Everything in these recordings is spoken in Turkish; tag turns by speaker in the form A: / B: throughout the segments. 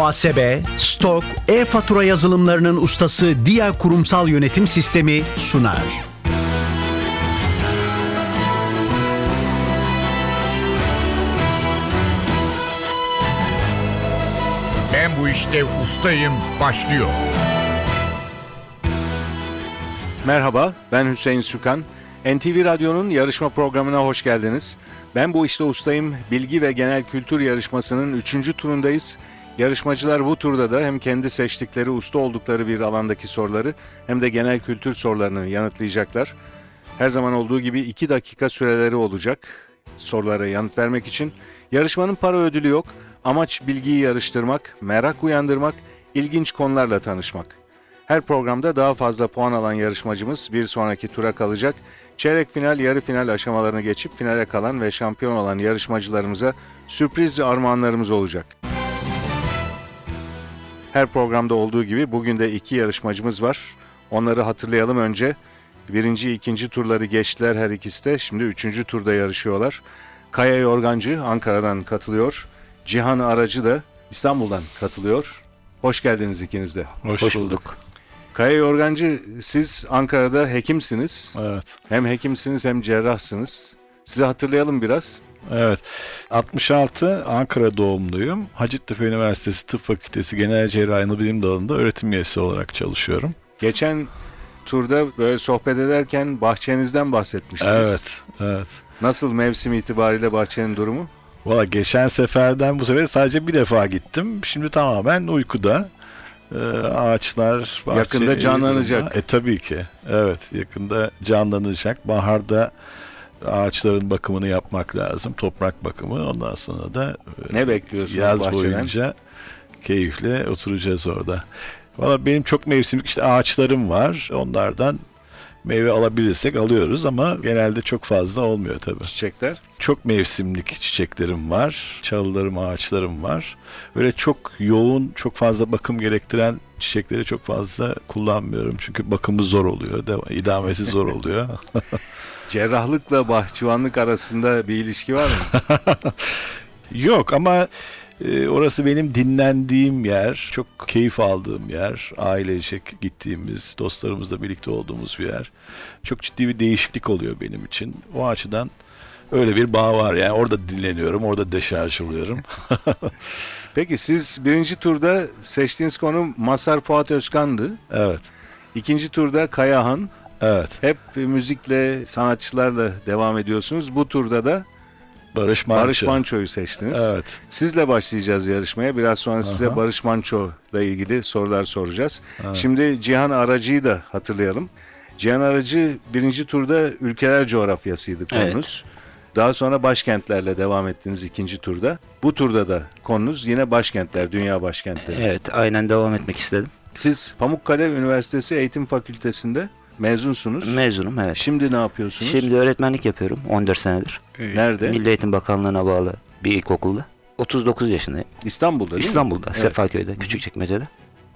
A: muhasebe, stok, e-fatura yazılımlarının ustası Dia Kurumsal Yönetim Sistemi sunar.
B: Ben bu işte ustayım başlıyor.
C: Merhaba, ben Hüseyin Sükan. NTV Radyo'nun yarışma programına hoş geldiniz. Ben bu işte ustayım. Bilgi ve genel kültür yarışmasının 3. turundayız. Yarışmacılar bu turda da hem kendi seçtikleri, usta oldukları bir alandaki soruları hem de genel kültür sorularını yanıtlayacaklar. Her zaman olduğu gibi 2 dakika süreleri olacak sorulara yanıt vermek için. Yarışmanın para ödülü yok. Amaç bilgiyi yarıştırmak, merak uyandırmak, ilginç konularla tanışmak. Her programda daha fazla puan alan yarışmacımız bir sonraki tura kalacak. Çeyrek final, yarı final aşamalarını geçip finale kalan ve şampiyon olan yarışmacılarımıza sürpriz armağanlarımız olacak. Her programda olduğu gibi bugün de iki yarışmacımız var. Onları hatırlayalım önce. Birinci, ikinci turları geçtiler her ikisi de. Şimdi üçüncü turda yarışıyorlar. Kaya Yorgancı Ankara'dan katılıyor. Cihan Aracı da İstanbul'dan katılıyor. Hoş geldiniz ikiniz de.
D: Hoş, bulduk.
C: Kaya Yorgancı siz Ankara'da hekimsiniz.
D: Evet.
C: Hem hekimsiniz hem cerrahsınız. Sizi hatırlayalım biraz.
D: Evet. 66 Ankara doğumluyum. Hacettepe Üniversitesi Tıp Fakültesi Genel Cerrahi Anı Bilim Dalı'nda öğretim üyesi olarak çalışıyorum.
C: Geçen turda böyle sohbet ederken bahçenizden bahsetmiştiniz.
D: Evet. Evet.
C: Nasıl mevsim itibariyle bahçenin durumu?
D: Valla geçen seferden bu sefer sadece bir defa gittim. Şimdi tamamen uykuda. Ee, ağaçlar bahçe-
C: Yakında canlanacak.
D: E tabii ki. Evet yakında canlanacak. Baharda ağaçların bakımını yapmak lazım. Toprak bakımı. Ondan sonra da
C: Ne bekliyorsunuz
D: Yaz
C: bahçeden?
D: boyunca keyifle oturacağız orada. Valla benim çok mevsimlik işte ağaçlarım var. Onlardan meyve alabilirsek alıyoruz ama genelde çok fazla olmuyor tabii.
C: Çiçekler.
D: Çok mevsimlik çiçeklerim var. Çalılarım, ağaçlarım var. Böyle çok yoğun, çok fazla bakım gerektiren çiçekleri çok fazla kullanmıyorum. Çünkü bakımı zor oluyor. devam- idamesi zor oluyor.
C: Cerrahlıkla bahçıvanlık arasında bir ilişki var mı?
D: Yok ama e, orası benim dinlendiğim yer, çok keyif aldığım yer, ailecek gittiğimiz, dostlarımızla birlikte olduğumuz bir yer. Çok ciddi bir değişiklik oluyor benim için. O açıdan öyle bir bağ var. Yani orada dinleniyorum, orada deşarj oluyorum.
C: Peki siz birinci turda seçtiğiniz konu Masar Fuat Özkan'dı.
D: evet,
C: İkinci turda Kayahan.
D: evet.
C: Hep müzikle, sanatçılarla devam ediyorsunuz. Bu turda da
D: Barış Manço.
C: Barış Manço'yu seçtiniz.
D: Evet.
C: Sizle başlayacağız yarışmaya. Biraz sonra size Barış Manço'la ilgili sorular soracağız. Şimdi Cihan Aracı'yı da hatırlayalım. Cihan Aracı birinci turda ülkeler coğrafyasıydı konunuz. Daha sonra başkentlerle devam ettiniz ikinci turda. Bu turda da konunuz yine başkentler, dünya başkentleri.
E: Evet aynen devam etmek istedim.
C: Siz Pamukkale Üniversitesi Eğitim Fakültesi'nde mezunsunuz.
E: Mezunum evet.
C: Şimdi ne yapıyorsunuz?
E: Şimdi öğretmenlik yapıyorum 14 senedir.
C: Nerede?
E: Milli Eğitim Bakanlığı'na bağlı bir ilkokulda. 39 yaşındayım.
C: İstanbul'da değil mi?
E: İstanbul'da,
C: Evet.
E: Sefaköy'de, Küçükçekmece'de.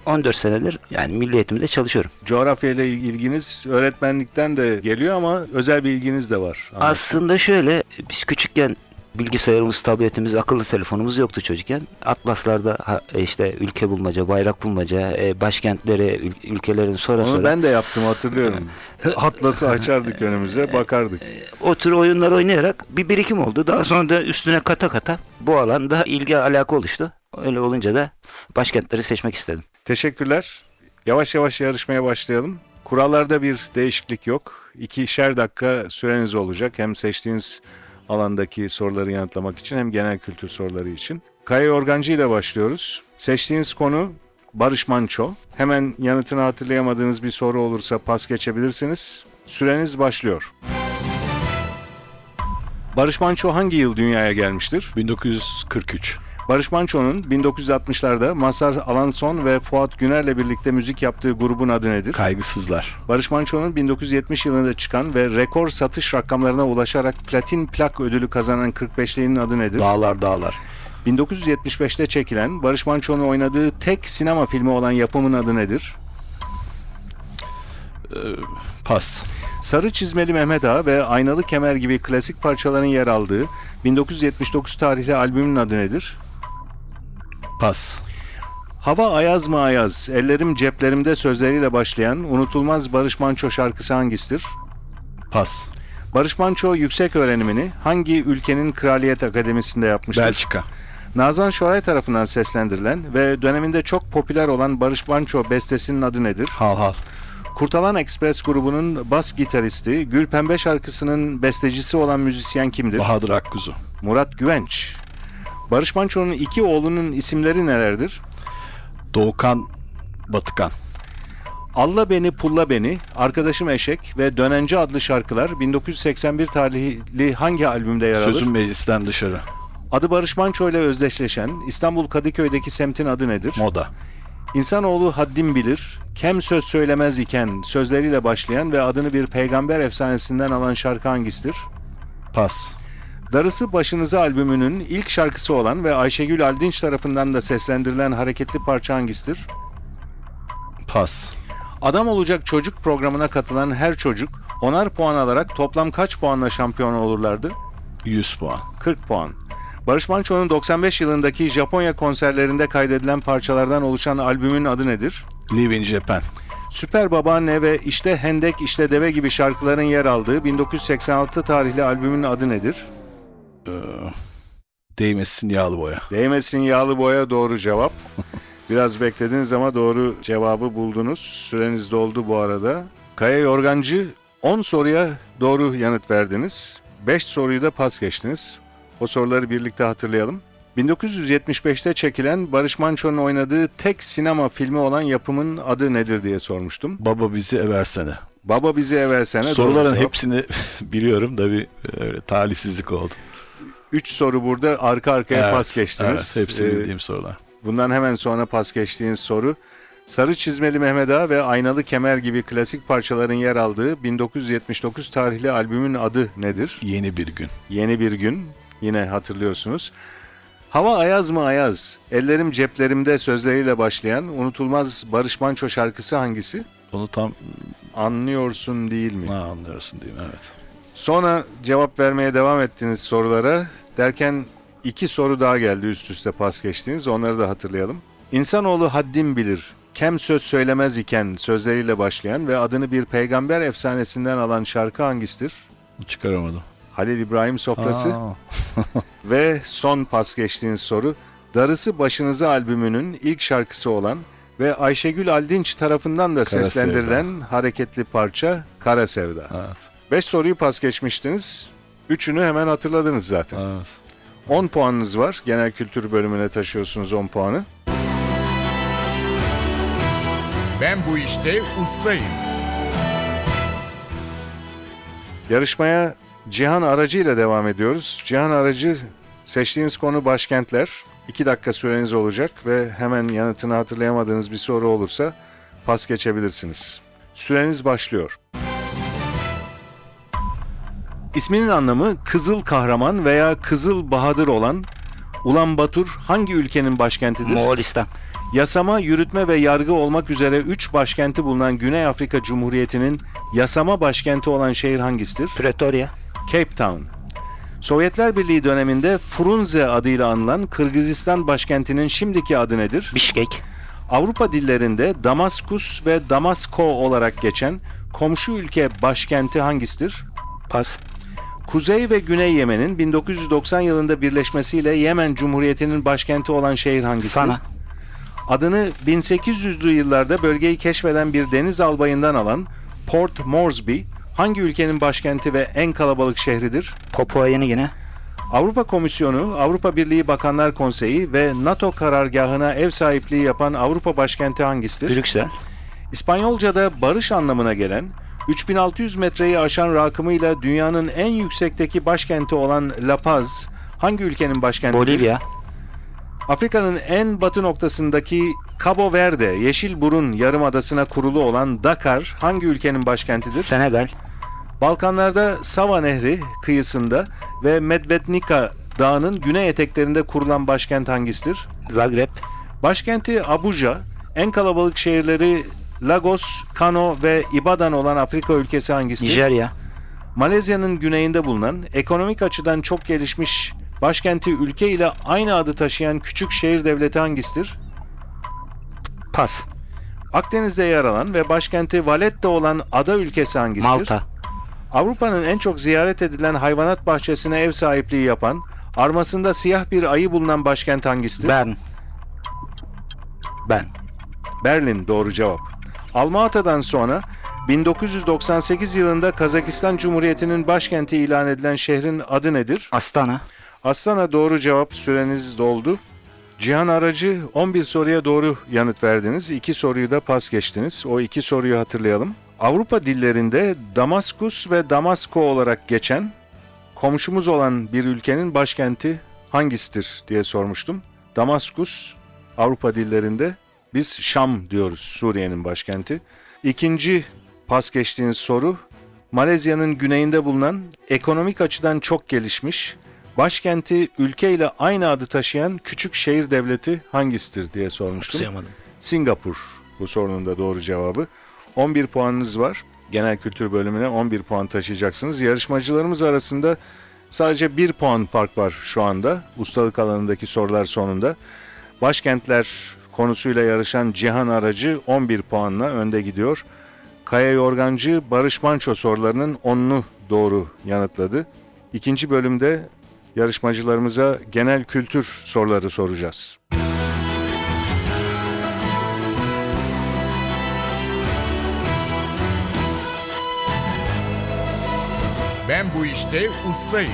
E: 14 senedir yani Milli Eğitim'de çalışıyorum.
C: Coğrafyayla ilginiz öğretmenlikten de geliyor ama özel bir ilginiz de var.
E: Aslında şöyle biz küçükken bilgisayarımız, tabletimiz, akıllı telefonumuz yoktu çocukken. Atlaslarda ha- işte ülke bulmaca, bayrak bulmaca, e, başkentleri, ül- ülkelerin sonra
C: Onu
E: sonra
C: ben de yaptım hatırlıyorum. Atlası açardık önümüze bakardık.
E: o tür oyunlar oynayarak bir birikim oldu. Daha sonra da üstüne kata kata bu alanda ilgi alaka oluştu. Öyle olunca da başkentleri seçmek istedim.
C: Teşekkürler. Yavaş yavaş yarışmaya başlayalım. Kurallarda bir değişiklik yok. İkişer dakika süreniz olacak. Hem seçtiğiniz alandaki soruları yanıtlamak için hem genel kültür soruları için. Kaya Organcı ile başlıyoruz. Seçtiğiniz konu Barış Manço. Hemen yanıtını hatırlayamadığınız bir soru olursa pas geçebilirsiniz. Süreniz başlıyor. Barış Manço hangi yıl dünyaya gelmiştir?
D: 1943.
C: Barış Manço'nun 1960'larda Masar Alanson ve Fuat Güner'le birlikte müzik yaptığı grubun adı nedir?
D: Kaygısızlar.
C: Barış Manço'nun 1970 yılında çıkan ve rekor satış rakamlarına ulaşarak platin plak ödülü kazanan 45'liğinin adı nedir?
D: Dağlar dağlar.
C: 1975'te çekilen Barış Manço'nun oynadığı tek sinema filmi olan yapımın adı nedir?
D: Pas.
C: Sarı Çizmeli Mehmet Ağa ve Aynalı Kemer gibi klasik parçaların yer aldığı 1979 tarihli albümün adı nedir?
D: Pas.
C: Hava ayaz mı ayaz, ellerim ceplerimde sözleriyle başlayan unutulmaz Barış Manço şarkısı hangisidir?
D: Pas.
C: Barış Manço yüksek öğrenimini hangi ülkenin kraliyet akademisinde yapmıştır?
D: Belçika.
C: Nazan Şoray tarafından seslendirilen ve döneminde çok popüler olan Barış Manço bestesinin adı nedir?
D: Hal hal.
C: Kurtalan Express grubunun bas gitaristi, Gül Pembe şarkısının bestecisi olan müzisyen kimdir?
D: Bahadır Akkuzu.
C: Murat Güvenç. Barış Manço'nun iki oğlunun isimleri nelerdir?
D: Doğukan Batıkan.
C: Alla Beni Pulla Beni, Arkadaşım Eşek ve Dönenci adlı şarkılar 1981 tarihli hangi albümde yer alır?
D: Sözüm meclisten dışarı.
C: Adı Barış Manço ile özdeşleşen İstanbul Kadıköy'deki semtin adı nedir?
D: Moda.
C: İnsanoğlu haddim bilir, kem söz söylemez iken sözleriyle başlayan ve adını bir peygamber efsanesinden alan şarkı hangisidir?
D: Pas.
C: Darısı Başınıza albümünün ilk şarkısı olan ve Ayşegül Aldinç tarafından da seslendirilen hareketli parça hangisidir?
D: Pas.
C: Adam Olacak Çocuk programına katılan her çocuk onar puan alarak toplam kaç puanla şampiyon olurlardı?
D: 100 puan.
C: 40 puan. Barış Manço'nun 95 yılındaki Japonya konserlerinde kaydedilen parçalardan oluşan albümün adı nedir?
D: Live in Japan.
C: Süper Babaanne ve İşte Hendek İşte Deve gibi şarkıların yer aldığı 1986 tarihli albümün adı nedir?
D: Değmesin yağlı boya.
C: Değmesin yağlı boya doğru cevap. Biraz beklediniz ama doğru cevabı buldunuz. Süreniz doldu bu arada. Kaya Yorgancı 10 soruya doğru yanıt verdiniz. 5 soruyu da pas geçtiniz. O soruları birlikte hatırlayalım. 1975'te çekilen Barış Manço'nun oynadığı tek sinema filmi olan yapımın adı nedir diye sormuştum.
D: Baba bizi eversene.
C: Baba bizi eversene. E, doğru
D: Soruların
C: cevap.
D: hepsini biliyorum da bir e, öyle talihsizlik oldu.
C: 3 soru burada arka arkaya pas geçtiniz.
D: Evet, hepsini
C: Ee,
D: bildiğim sorular.
C: Bundan hemen sonra pas geçtiğiniz soru. Sarı Çizmeli Mehmet Ağa ve Aynalı Kemer gibi klasik parçaların yer aldığı 1979 tarihli albümün adı nedir?
D: Yeni bir gün.
C: Yeni Bir Gün. Yine hatırlıyorsunuz. Hava ayaz mı ayaz? Ellerim ceplerimde sözleriyle başlayan unutulmaz Barış Manço şarkısı hangisi?
D: Onu tam
C: Anlıyorsun değil mi?
D: ha, anlıyorsun değil mi? Evet.
C: Sonra cevap vermeye devam ettiniz sorulara. Derken iki soru daha geldi üst üste pas geçtiniz. Onları da hatırlayalım. İnsanoğlu haddim bilir. Kem söz söylemez iken sözleriyle başlayan ve adını bir peygamber efsanesinden alan şarkı hangisidir?
D: Çıkaramadım.
C: Halil İbrahim sofrası.
D: Aa,
C: Ve son pas geçtiğiniz soru. Darısı Başınıza albümünün ilk şarkısı olan ve Ayşegül Aldinç tarafından da
D: Sevda.
C: seslendirilen hareketli parça Kara Sevda.
D: evet.
C: 5 soruyu pas geçmiştiniz. Üçünü hemen hatırladınız zaten.
D: Evet.
C: 10 puanınız var. Genel kültür bölümüne taşıyorsunuz 10 puanı.
B: Ben bu işte ustayım.
C: Yarışmaya Cihan Aracı ile devam ediyoruz. Cihan Aracı seçtiğiniz konu başkentler. 2 dakika süreniz olacak ve hemen yanıtını hatırlayamadığınız bir soru olursa pas geçebilirsiniz. Süreniz başlıyor. İsminin anlamı Kızıl Kahraman veya Kızıl Bahadır olan Ulan Batur hangi ülkenin başkentidir?
E: Moğolistan.
C: Yasama, yürütme ve yargı olmak üzere 3 başkenti bulunan Güney Afrika Cumhuriyeti'nin yasama başkenti olan şehir hangisidir?
E: Pretoria.
C: Cape Town. Sovyetler Birliği döneminde Frunze adıyla anılan Kırgızistan başkentinin şimdiki adı nedir?
E: Bişkek.
C: Avrupa dillerinde Damaskus ve Damasko olarak geçen komşu ülke başkenti hangisidir?
E: Pas.
C: Kuzey ve Güney Yemen'in 1990 yılında birleşmesiyle Yemen Cumhuriyeti'nin başkenti olan şehir hangisidir?
E: Sana.
C: Adını 1800'lü yıllarda bölgeyi keşfeden bir deniz albayından alan Port Moresby hangi ülkenin başkenti ve en kalabalık şehridir?
E: Papua Yeni Gine.
C: Avrupa Komisyonu, Avrupa Birliği Bakanlar Konseyi ve NATO karargahına ev sahipliği yapan Avrupa başkenti hangisidir?
E: Brüksel.
C: İspanyolca'da barış anlamına gelen, 3600 metreyi aşan rakımıyla dünyanın en yüksekteki başkenti olan La Paz hangi ülkenin başkentidir?
E: Bolivya.
C: Afrika'nın en batı noktasındaki Cabo Verde, Yeşilburun yarımadasına kurulu olan Dakar hangi ülkenin başkentidir?
E: Senegal.
C: Balkanlarda Sava Nehri kıyısında ve Medvednica Dağı'nın güney eteklerinde kurulan başkent hangisidir?
E: Zagreb.
C: Başkenti Abuja, en kalabalık şehirleri Lagos, Kano ve Ibadan olan Afrika ülkesi hangisidir?
E: Nijerya.
C: Malezya'nın güneyinde bulunan, ekonomik açıdan çok gelişmiş, başkenti ülke ile aynı adı taşıyan küçük şehir devleti hangisidir?
E: Pas.
C: Akdeniz'de yer alan ve başkenti Valletta olan ada ülkesi hangisidir?
E: Malta.
C: Avrupa'nın en çok ziyaret edilen hayvanat bahçesine ev sahipliği yapan, armasında siyah bir ayı bulunan başkent hangisidir?
E: Ben. Ben.
C: Berlin doğru cevap. Almata'dan sonra 1998 yılında Kazakistan Cumhuriyeti'nin başkenti ilan edilen şehrin adı nedir?
E: Astana.
C: Aslan'a doğru cevap süreniz doldu. Cihan Aracı 11 soruya doğru yanıt verdiniz. 2 soruyu da pas geçtiniz. O iki soruyu hatırlayalım. Avrupa dillerinde Damaskus ve Damasko olarak geçen komşumuz olan bir ülkenin başkenti hangisidir diye sormuştum. Damaskus Avrupa dillerinde biz Şam diyoruz Suriye'nin başkenti. İkinci pas geçtiğiniz soru Malezya'nın güneyinde bulunan ekonomik açıdan çok gelişmiş başkenti ülkeyle aynı adı taşıyan küçük şehir devleti hangisidir diye sormuştum.
E: Sıyamadım.
C: Singapur bu sorunun da doğru cevabı. 11 puanınız var. Genel kültür bölümüne 11 puan taşıyacaksınız. Yarışmacılarımız arasında sadece 1 puan fark var şu anda. Ustalık alanındaki sorular sonunda. Başkentler konusuyla yarışan Cihan Aracı 11 puanla önde gidiyor. Kaya Yorgancı Barış Manço sorularının 10'unu doğru yanıtladı. İkinci bölümde yarışmacılarımıza genel kültür soruları soracağız.
B: Ben bu işte ustayım.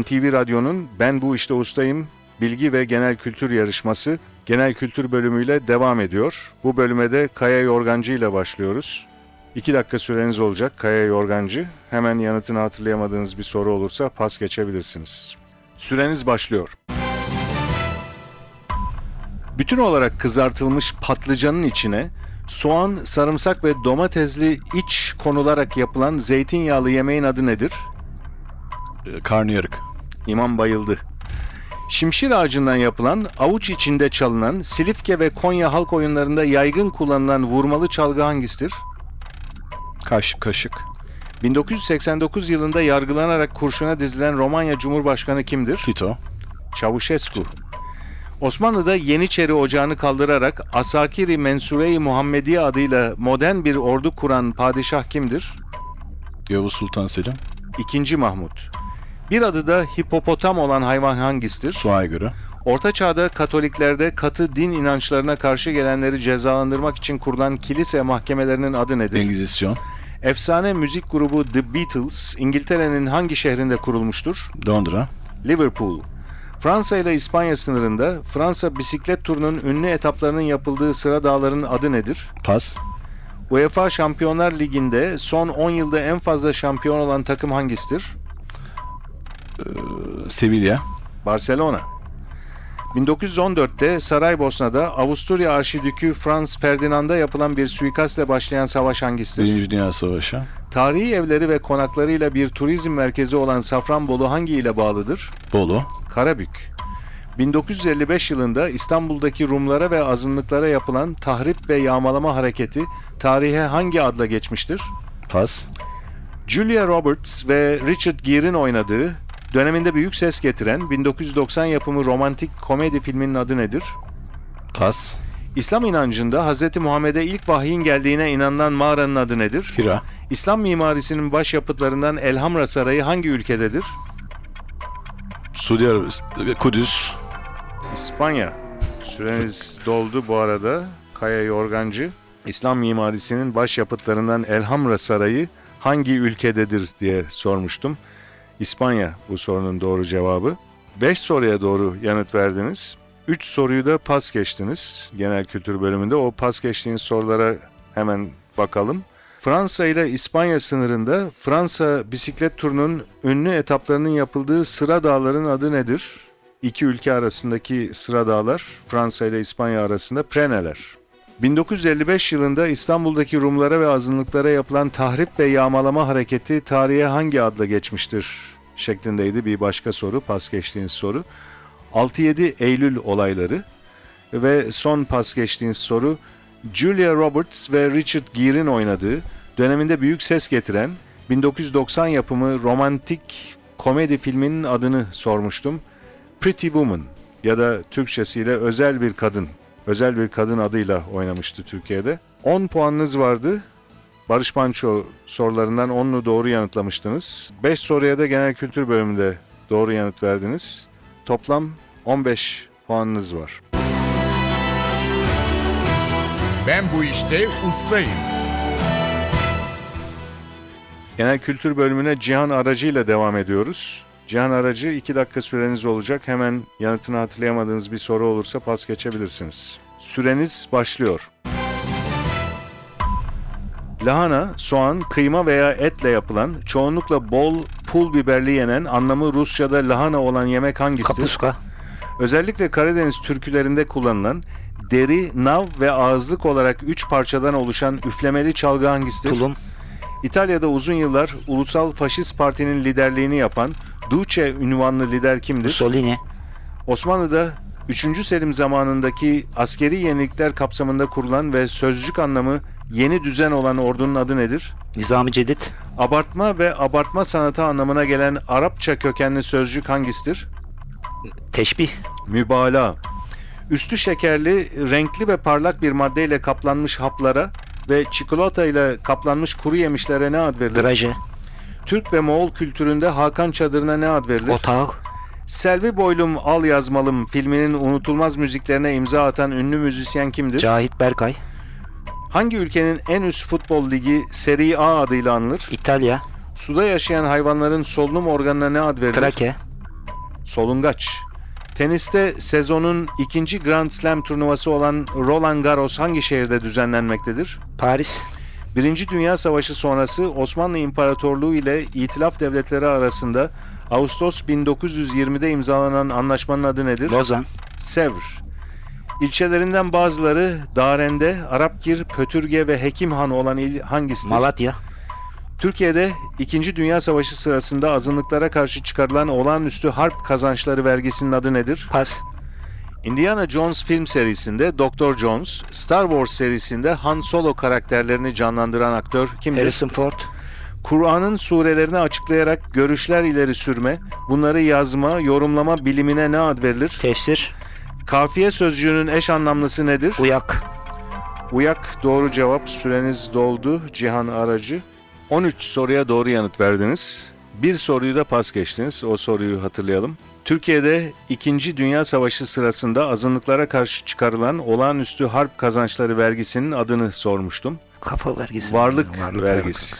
C: NTV Radyo'nun Ben Bu İşte Ustayım bilgi ve genel kültür yarışması genel kültür bölümüyle devam ediyor. Bu bölüme de Kaya Yorgancı ile başlıyoruz. İki dakika süreniz olacak Kaya Yorgancı. Hemen yanıtını hatırlayamadığınız bir soru olursa pas geçebilirsiniz. Süreniz başlıyor. Bütün olarak kızartılmış patlıcanın içine soğan, sarımsak ve domatesli iç konularak yapılan zeytinyağlı yemeğin adı nedir?
D: Ee, Karnıyarık.
C: İmam bayıldı. Şimşir ağacından yapılan, avuç içinde çalınan, Silifke ve Konya halk oyunlarında yaygın kullanılan vurmalı çalgı hangisidir?
D: Kaş, kaşık.
C: 1989 yılında yargılanarak kurşuna dizilen Romanya Cumhurbaşkanı kimdir?
D: Tito.
C: Çavuşescu. Osmanlı'da Yeniçeri Ocağı'nı kaldırarak Asakiri Mensure-i Muhammediye adıyla modern bir ordu kuran padişah kimdir?
D: Yavuz Sultan Selim.
C: İkinci Mahmut. Bir adı da hipopotam olan hayvan hangisidir?
D: Suaya göre.
C: Orta Çağ'da Katoliklerde katı din inançlarına karşı gelenleri cezalandırmak için kurulan kilise mahkemelerinin adı nedir?
D: Engizisyon.
C: Efsane müzik grubu The Beatles İngiltere'nin hangi şehrinde kurulmuştur?
D: Londra.
C: Liverpool. Fransa ile İspanya sınırında Fransa bisiklet turunun ünlü etaplarının yapıldığı sıra dağların adı nedir?
D: Pas.
C: UEFA Şampiyonlar Ligi'nde son 10 yılda en fazla şampiyon olan takım hangisidir?
D: Sevilla.
C: Barcelona. 1914'te Saraybosna'da Avusturya Arşidükü Franz Ferdinand'a yapılan bir suikastla başlayan savaş hangisidir?
D: Birinci Dünya Savaşı.
C: Tarihi evleri ve konaklarıyla bir turizm merkezi olan Safranbolu hangi ile bağlıdır?
D: Bolu.
C: Karabük. 1955 yılında İstanbul'daki Rumlara ve azınlıklara yapılan tahrip ve yağmalama hareketi tarihe hangi adla geçmiştir?
D: Pas.
C: Julia Roberts ve Richard Gere'in oynadığı, döneminde büyük ses getiren 1990 yapımı romantik komedi filminin adı nedir?
D: Pas.
C: İslam inancında Hz. Muhammed'e ilk vahyin geldiğine inanılan mağaranın adı nedir?
D: Hira.
C: İslam mimarisinin başyapıtlarından Elhamra Sarayı hangi ülkededir?
D: Suudi Arabistan. Kudüs.
C: İspanya. Süreniz doldu bu arada. Kaya Yorgancı. İslam mimarisinin başyapıtlarından Elhamra Sarayı hangi ülkededir diye sormuştum. İspanya bu sorunun doğru cevabı. 5 soruya doğru yanıt verdiniz. 3 soruyu da pas geçtiniz. Genel kültür bölümünde o pas geçtiğiniz sorulara hemen bakalım. Fransa ile İspanya sınırında Fransa bisiklet turunun ünlü etaplarının yapıldığı sıra dağların adı nedir? İki ülke arasındaki sıra dağlar Fransa ile İspanya arasında preneler. 1955 yılında İstanbul'daki Rumlara ve azınlıklara yapılan tahrip ve yağmalama hareketi tarihe hangi adla geçmiştir? şeklindeydi bir başka soru, pas geçtiğiniz soru. 6-7 Eylül olayları ve son pas geçtiğiniz soru Julia Roberts ve Richard Gere'in oynadığı, döneminde büyük ses getiren 1990 yapımı romantik komedi filminin adını sormuştum. Pretty Woman. ya da Türkçesiyle özel bir kadın. Özel bir kadın adıyla oynamıştı Türkiye'de. 10 puanınız vardı. Barış Manço sorularından 10'unu doğru yanıtlamıştınız. 5 soruya da genel kültür bölümünde doğru yanıt verdiniz. Toplam 15 puanınız var.
B: Ben bu işte ustayım.
C: Genel kültür bölümüne Cihan Aracı ile devam ediyoruz. Cihan Aracı 2 dakika süreniz olacak. Hemen yanıtını hatırlayamadığınız bir soru olursa pas geçebilirsiniz. Süreniz başlıyor. Lahana, soğan, kıyma veya etle yapılan, çoğunlukla bol pul biberli yenen, anlamı Rusça'da lahana olan yemek hangisidir?
E: Kapuska.
C: Özellikle Karadeniz türkülerinde kullanılan, deri, nav ve ağızlık olarak 3 parçadan oluşan üflemeli çalgı hangisidir?
E: Tulum.
C: İtalya'da uzun yıllar Ulusal Faşist Parti'nin liderliğini yapan Duce ünvanlı lider kimdir?
E: Mussolini.
C: Osmanlı'da 3. Selim zamanındaki askeri yenilikler kapsamında kurulan ve sözcük anlamı yeni düzen olan ordunun adı nedir?
E: Nizami Cedid.
C: Abartma ve abartma sanatı anlamına gelen Arapça kökenli sözcük hangisidir?
E: Teşbih.
C: Mübalağa. Üstü şekerli, renkli ve parlak bir maddeyle kaplanmış haplara ve çikolata ile kaplanmış kuru yemişlere ne ad verilir?
E: Draje.
C: Türk ve Moğol kültüründe Hakan Çadırı'na ne ad verilir?
E: Otağı.
C: Selvi Boylum Al Yazmalım filminin unutulmaz müziklerine imza atan ünlü müzisyen kimdir?
E: Cahit Berkay.
C: Hangi ülkenin en üst futbol ligi Serie A adıyla anılır?
E: İtalya.
C: Suda yaşayan hayvanların solunum organına ne ad verilir?
E: Trake.
C: Solungaç. Teniste sezonun ikinci Grand Slam turnuvası olan Roland Garros hangi şehirde düzenlenmektedir?
E: Paris.
C: Birinci Dünya Savaşı sonrası Osmanlı İmparatorluğu ile İtilaf Devletleri arasında Ağustos 1920'de imzalanan anlaşmanın adı nedir?
E: Lozan.
C: Sevr. İlçelerinden bazıları Darende, Arapgir, Pötürge ve Hekimhan olan il hangisidir?
E: Malatya.
C: Türkiye'de 2. Dünya Savaşı sırasında azınlıklara karşı çıkarılan olağanüstü harp kazançları vergisinin adı nedir?
E: Pas.
C: Indiana Jones film serisinde Dr. Jones, Star Wars serisinde Han Solo karakterlerini canlandıran aktör kimdir?
E: Harrison Ford.
C: Kur'an'ın surelerini açıklayarak görüşler ileri sürme, bunları yazma, yorumlama bilimine ne ad verilir?
E: Tefsir.
C: Kafiye sözcüğünün eş anlamlısı nedir?
E: Uyak.
C: Uyak doğru cevap süreniz doldu Cihan Aracı. 13 soruya doğru yanıt verdiniz. Bir soruyu da pas geçtiniz. O soruyu hatırlayalım. Türkiye'de 2. Dünya Savaşı sırasında azınlıklara karşı çıkarılan olağanüstü harp kazançları vergisinin adını sormuştum.
E: Kafa vergisi.
C: Varlık, vergisi.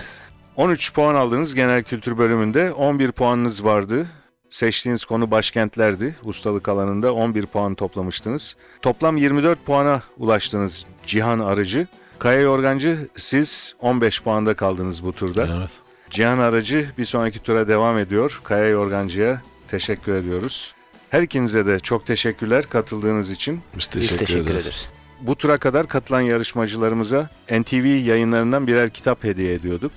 C: 13 puan aldınız genel kültür bölümünde. 11 puanınız vardı. Seçtiğiniz konu başkentlerdi. Ustalık alanında 11 puan toplamıştınız. Toplam 24 puana ulaştınız Cihan Arıcı. Kaya Yorgancı siz 15 puanda kaldınız bu turda.
D: Evet.
C: Cihan Aracı bir sonraki tura devam ediyor. Kaya Yorgancı'ya teşekkür ediyoruz. Her ikinize de çok teşekkürler katıldığınız için.
D: Biz teşekkür,
E: Biz teşekkür
D: ederiz.
E: ederiz.
C: Bu tura kadar katılan yarışmacılarımıza NTV yayınlarından birer kitap hediye ediyorduk.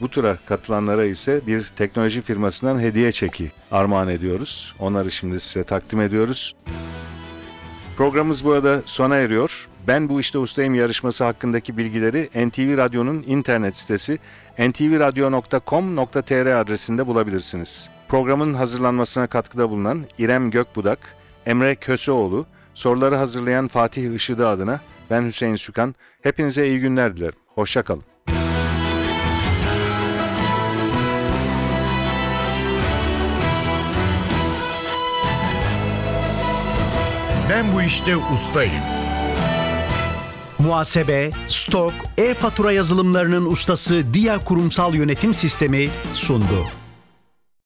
C: Bu tura katılanlara ise bir teknoloji firmasından hediye çeki armağan ediyoruz. Onları şimdi size takdim ediyoruz. Programımız burada sona eriyor. Ben bu işte ustayım yarışması hakkındaki bilgileri NTV Radyo'nun internet sitesi ntvradio.com.tr adresinde bulabilirsiniz. Programın hazırlanmasına katkıda bulunan İrem Gökbudak, Emre Köseoğlu, soruları hazırlayan Fatih Işıdı adına ben Hüseyin Sükan. Hepinize iyi günler dilerim. Hoşçakalın.
B: Ben bu işte ustayım.
A: Muhasebe, stok, e-fatura yazılımlarının ustası Dia Kurumsal Yönetim Sistemi sundu.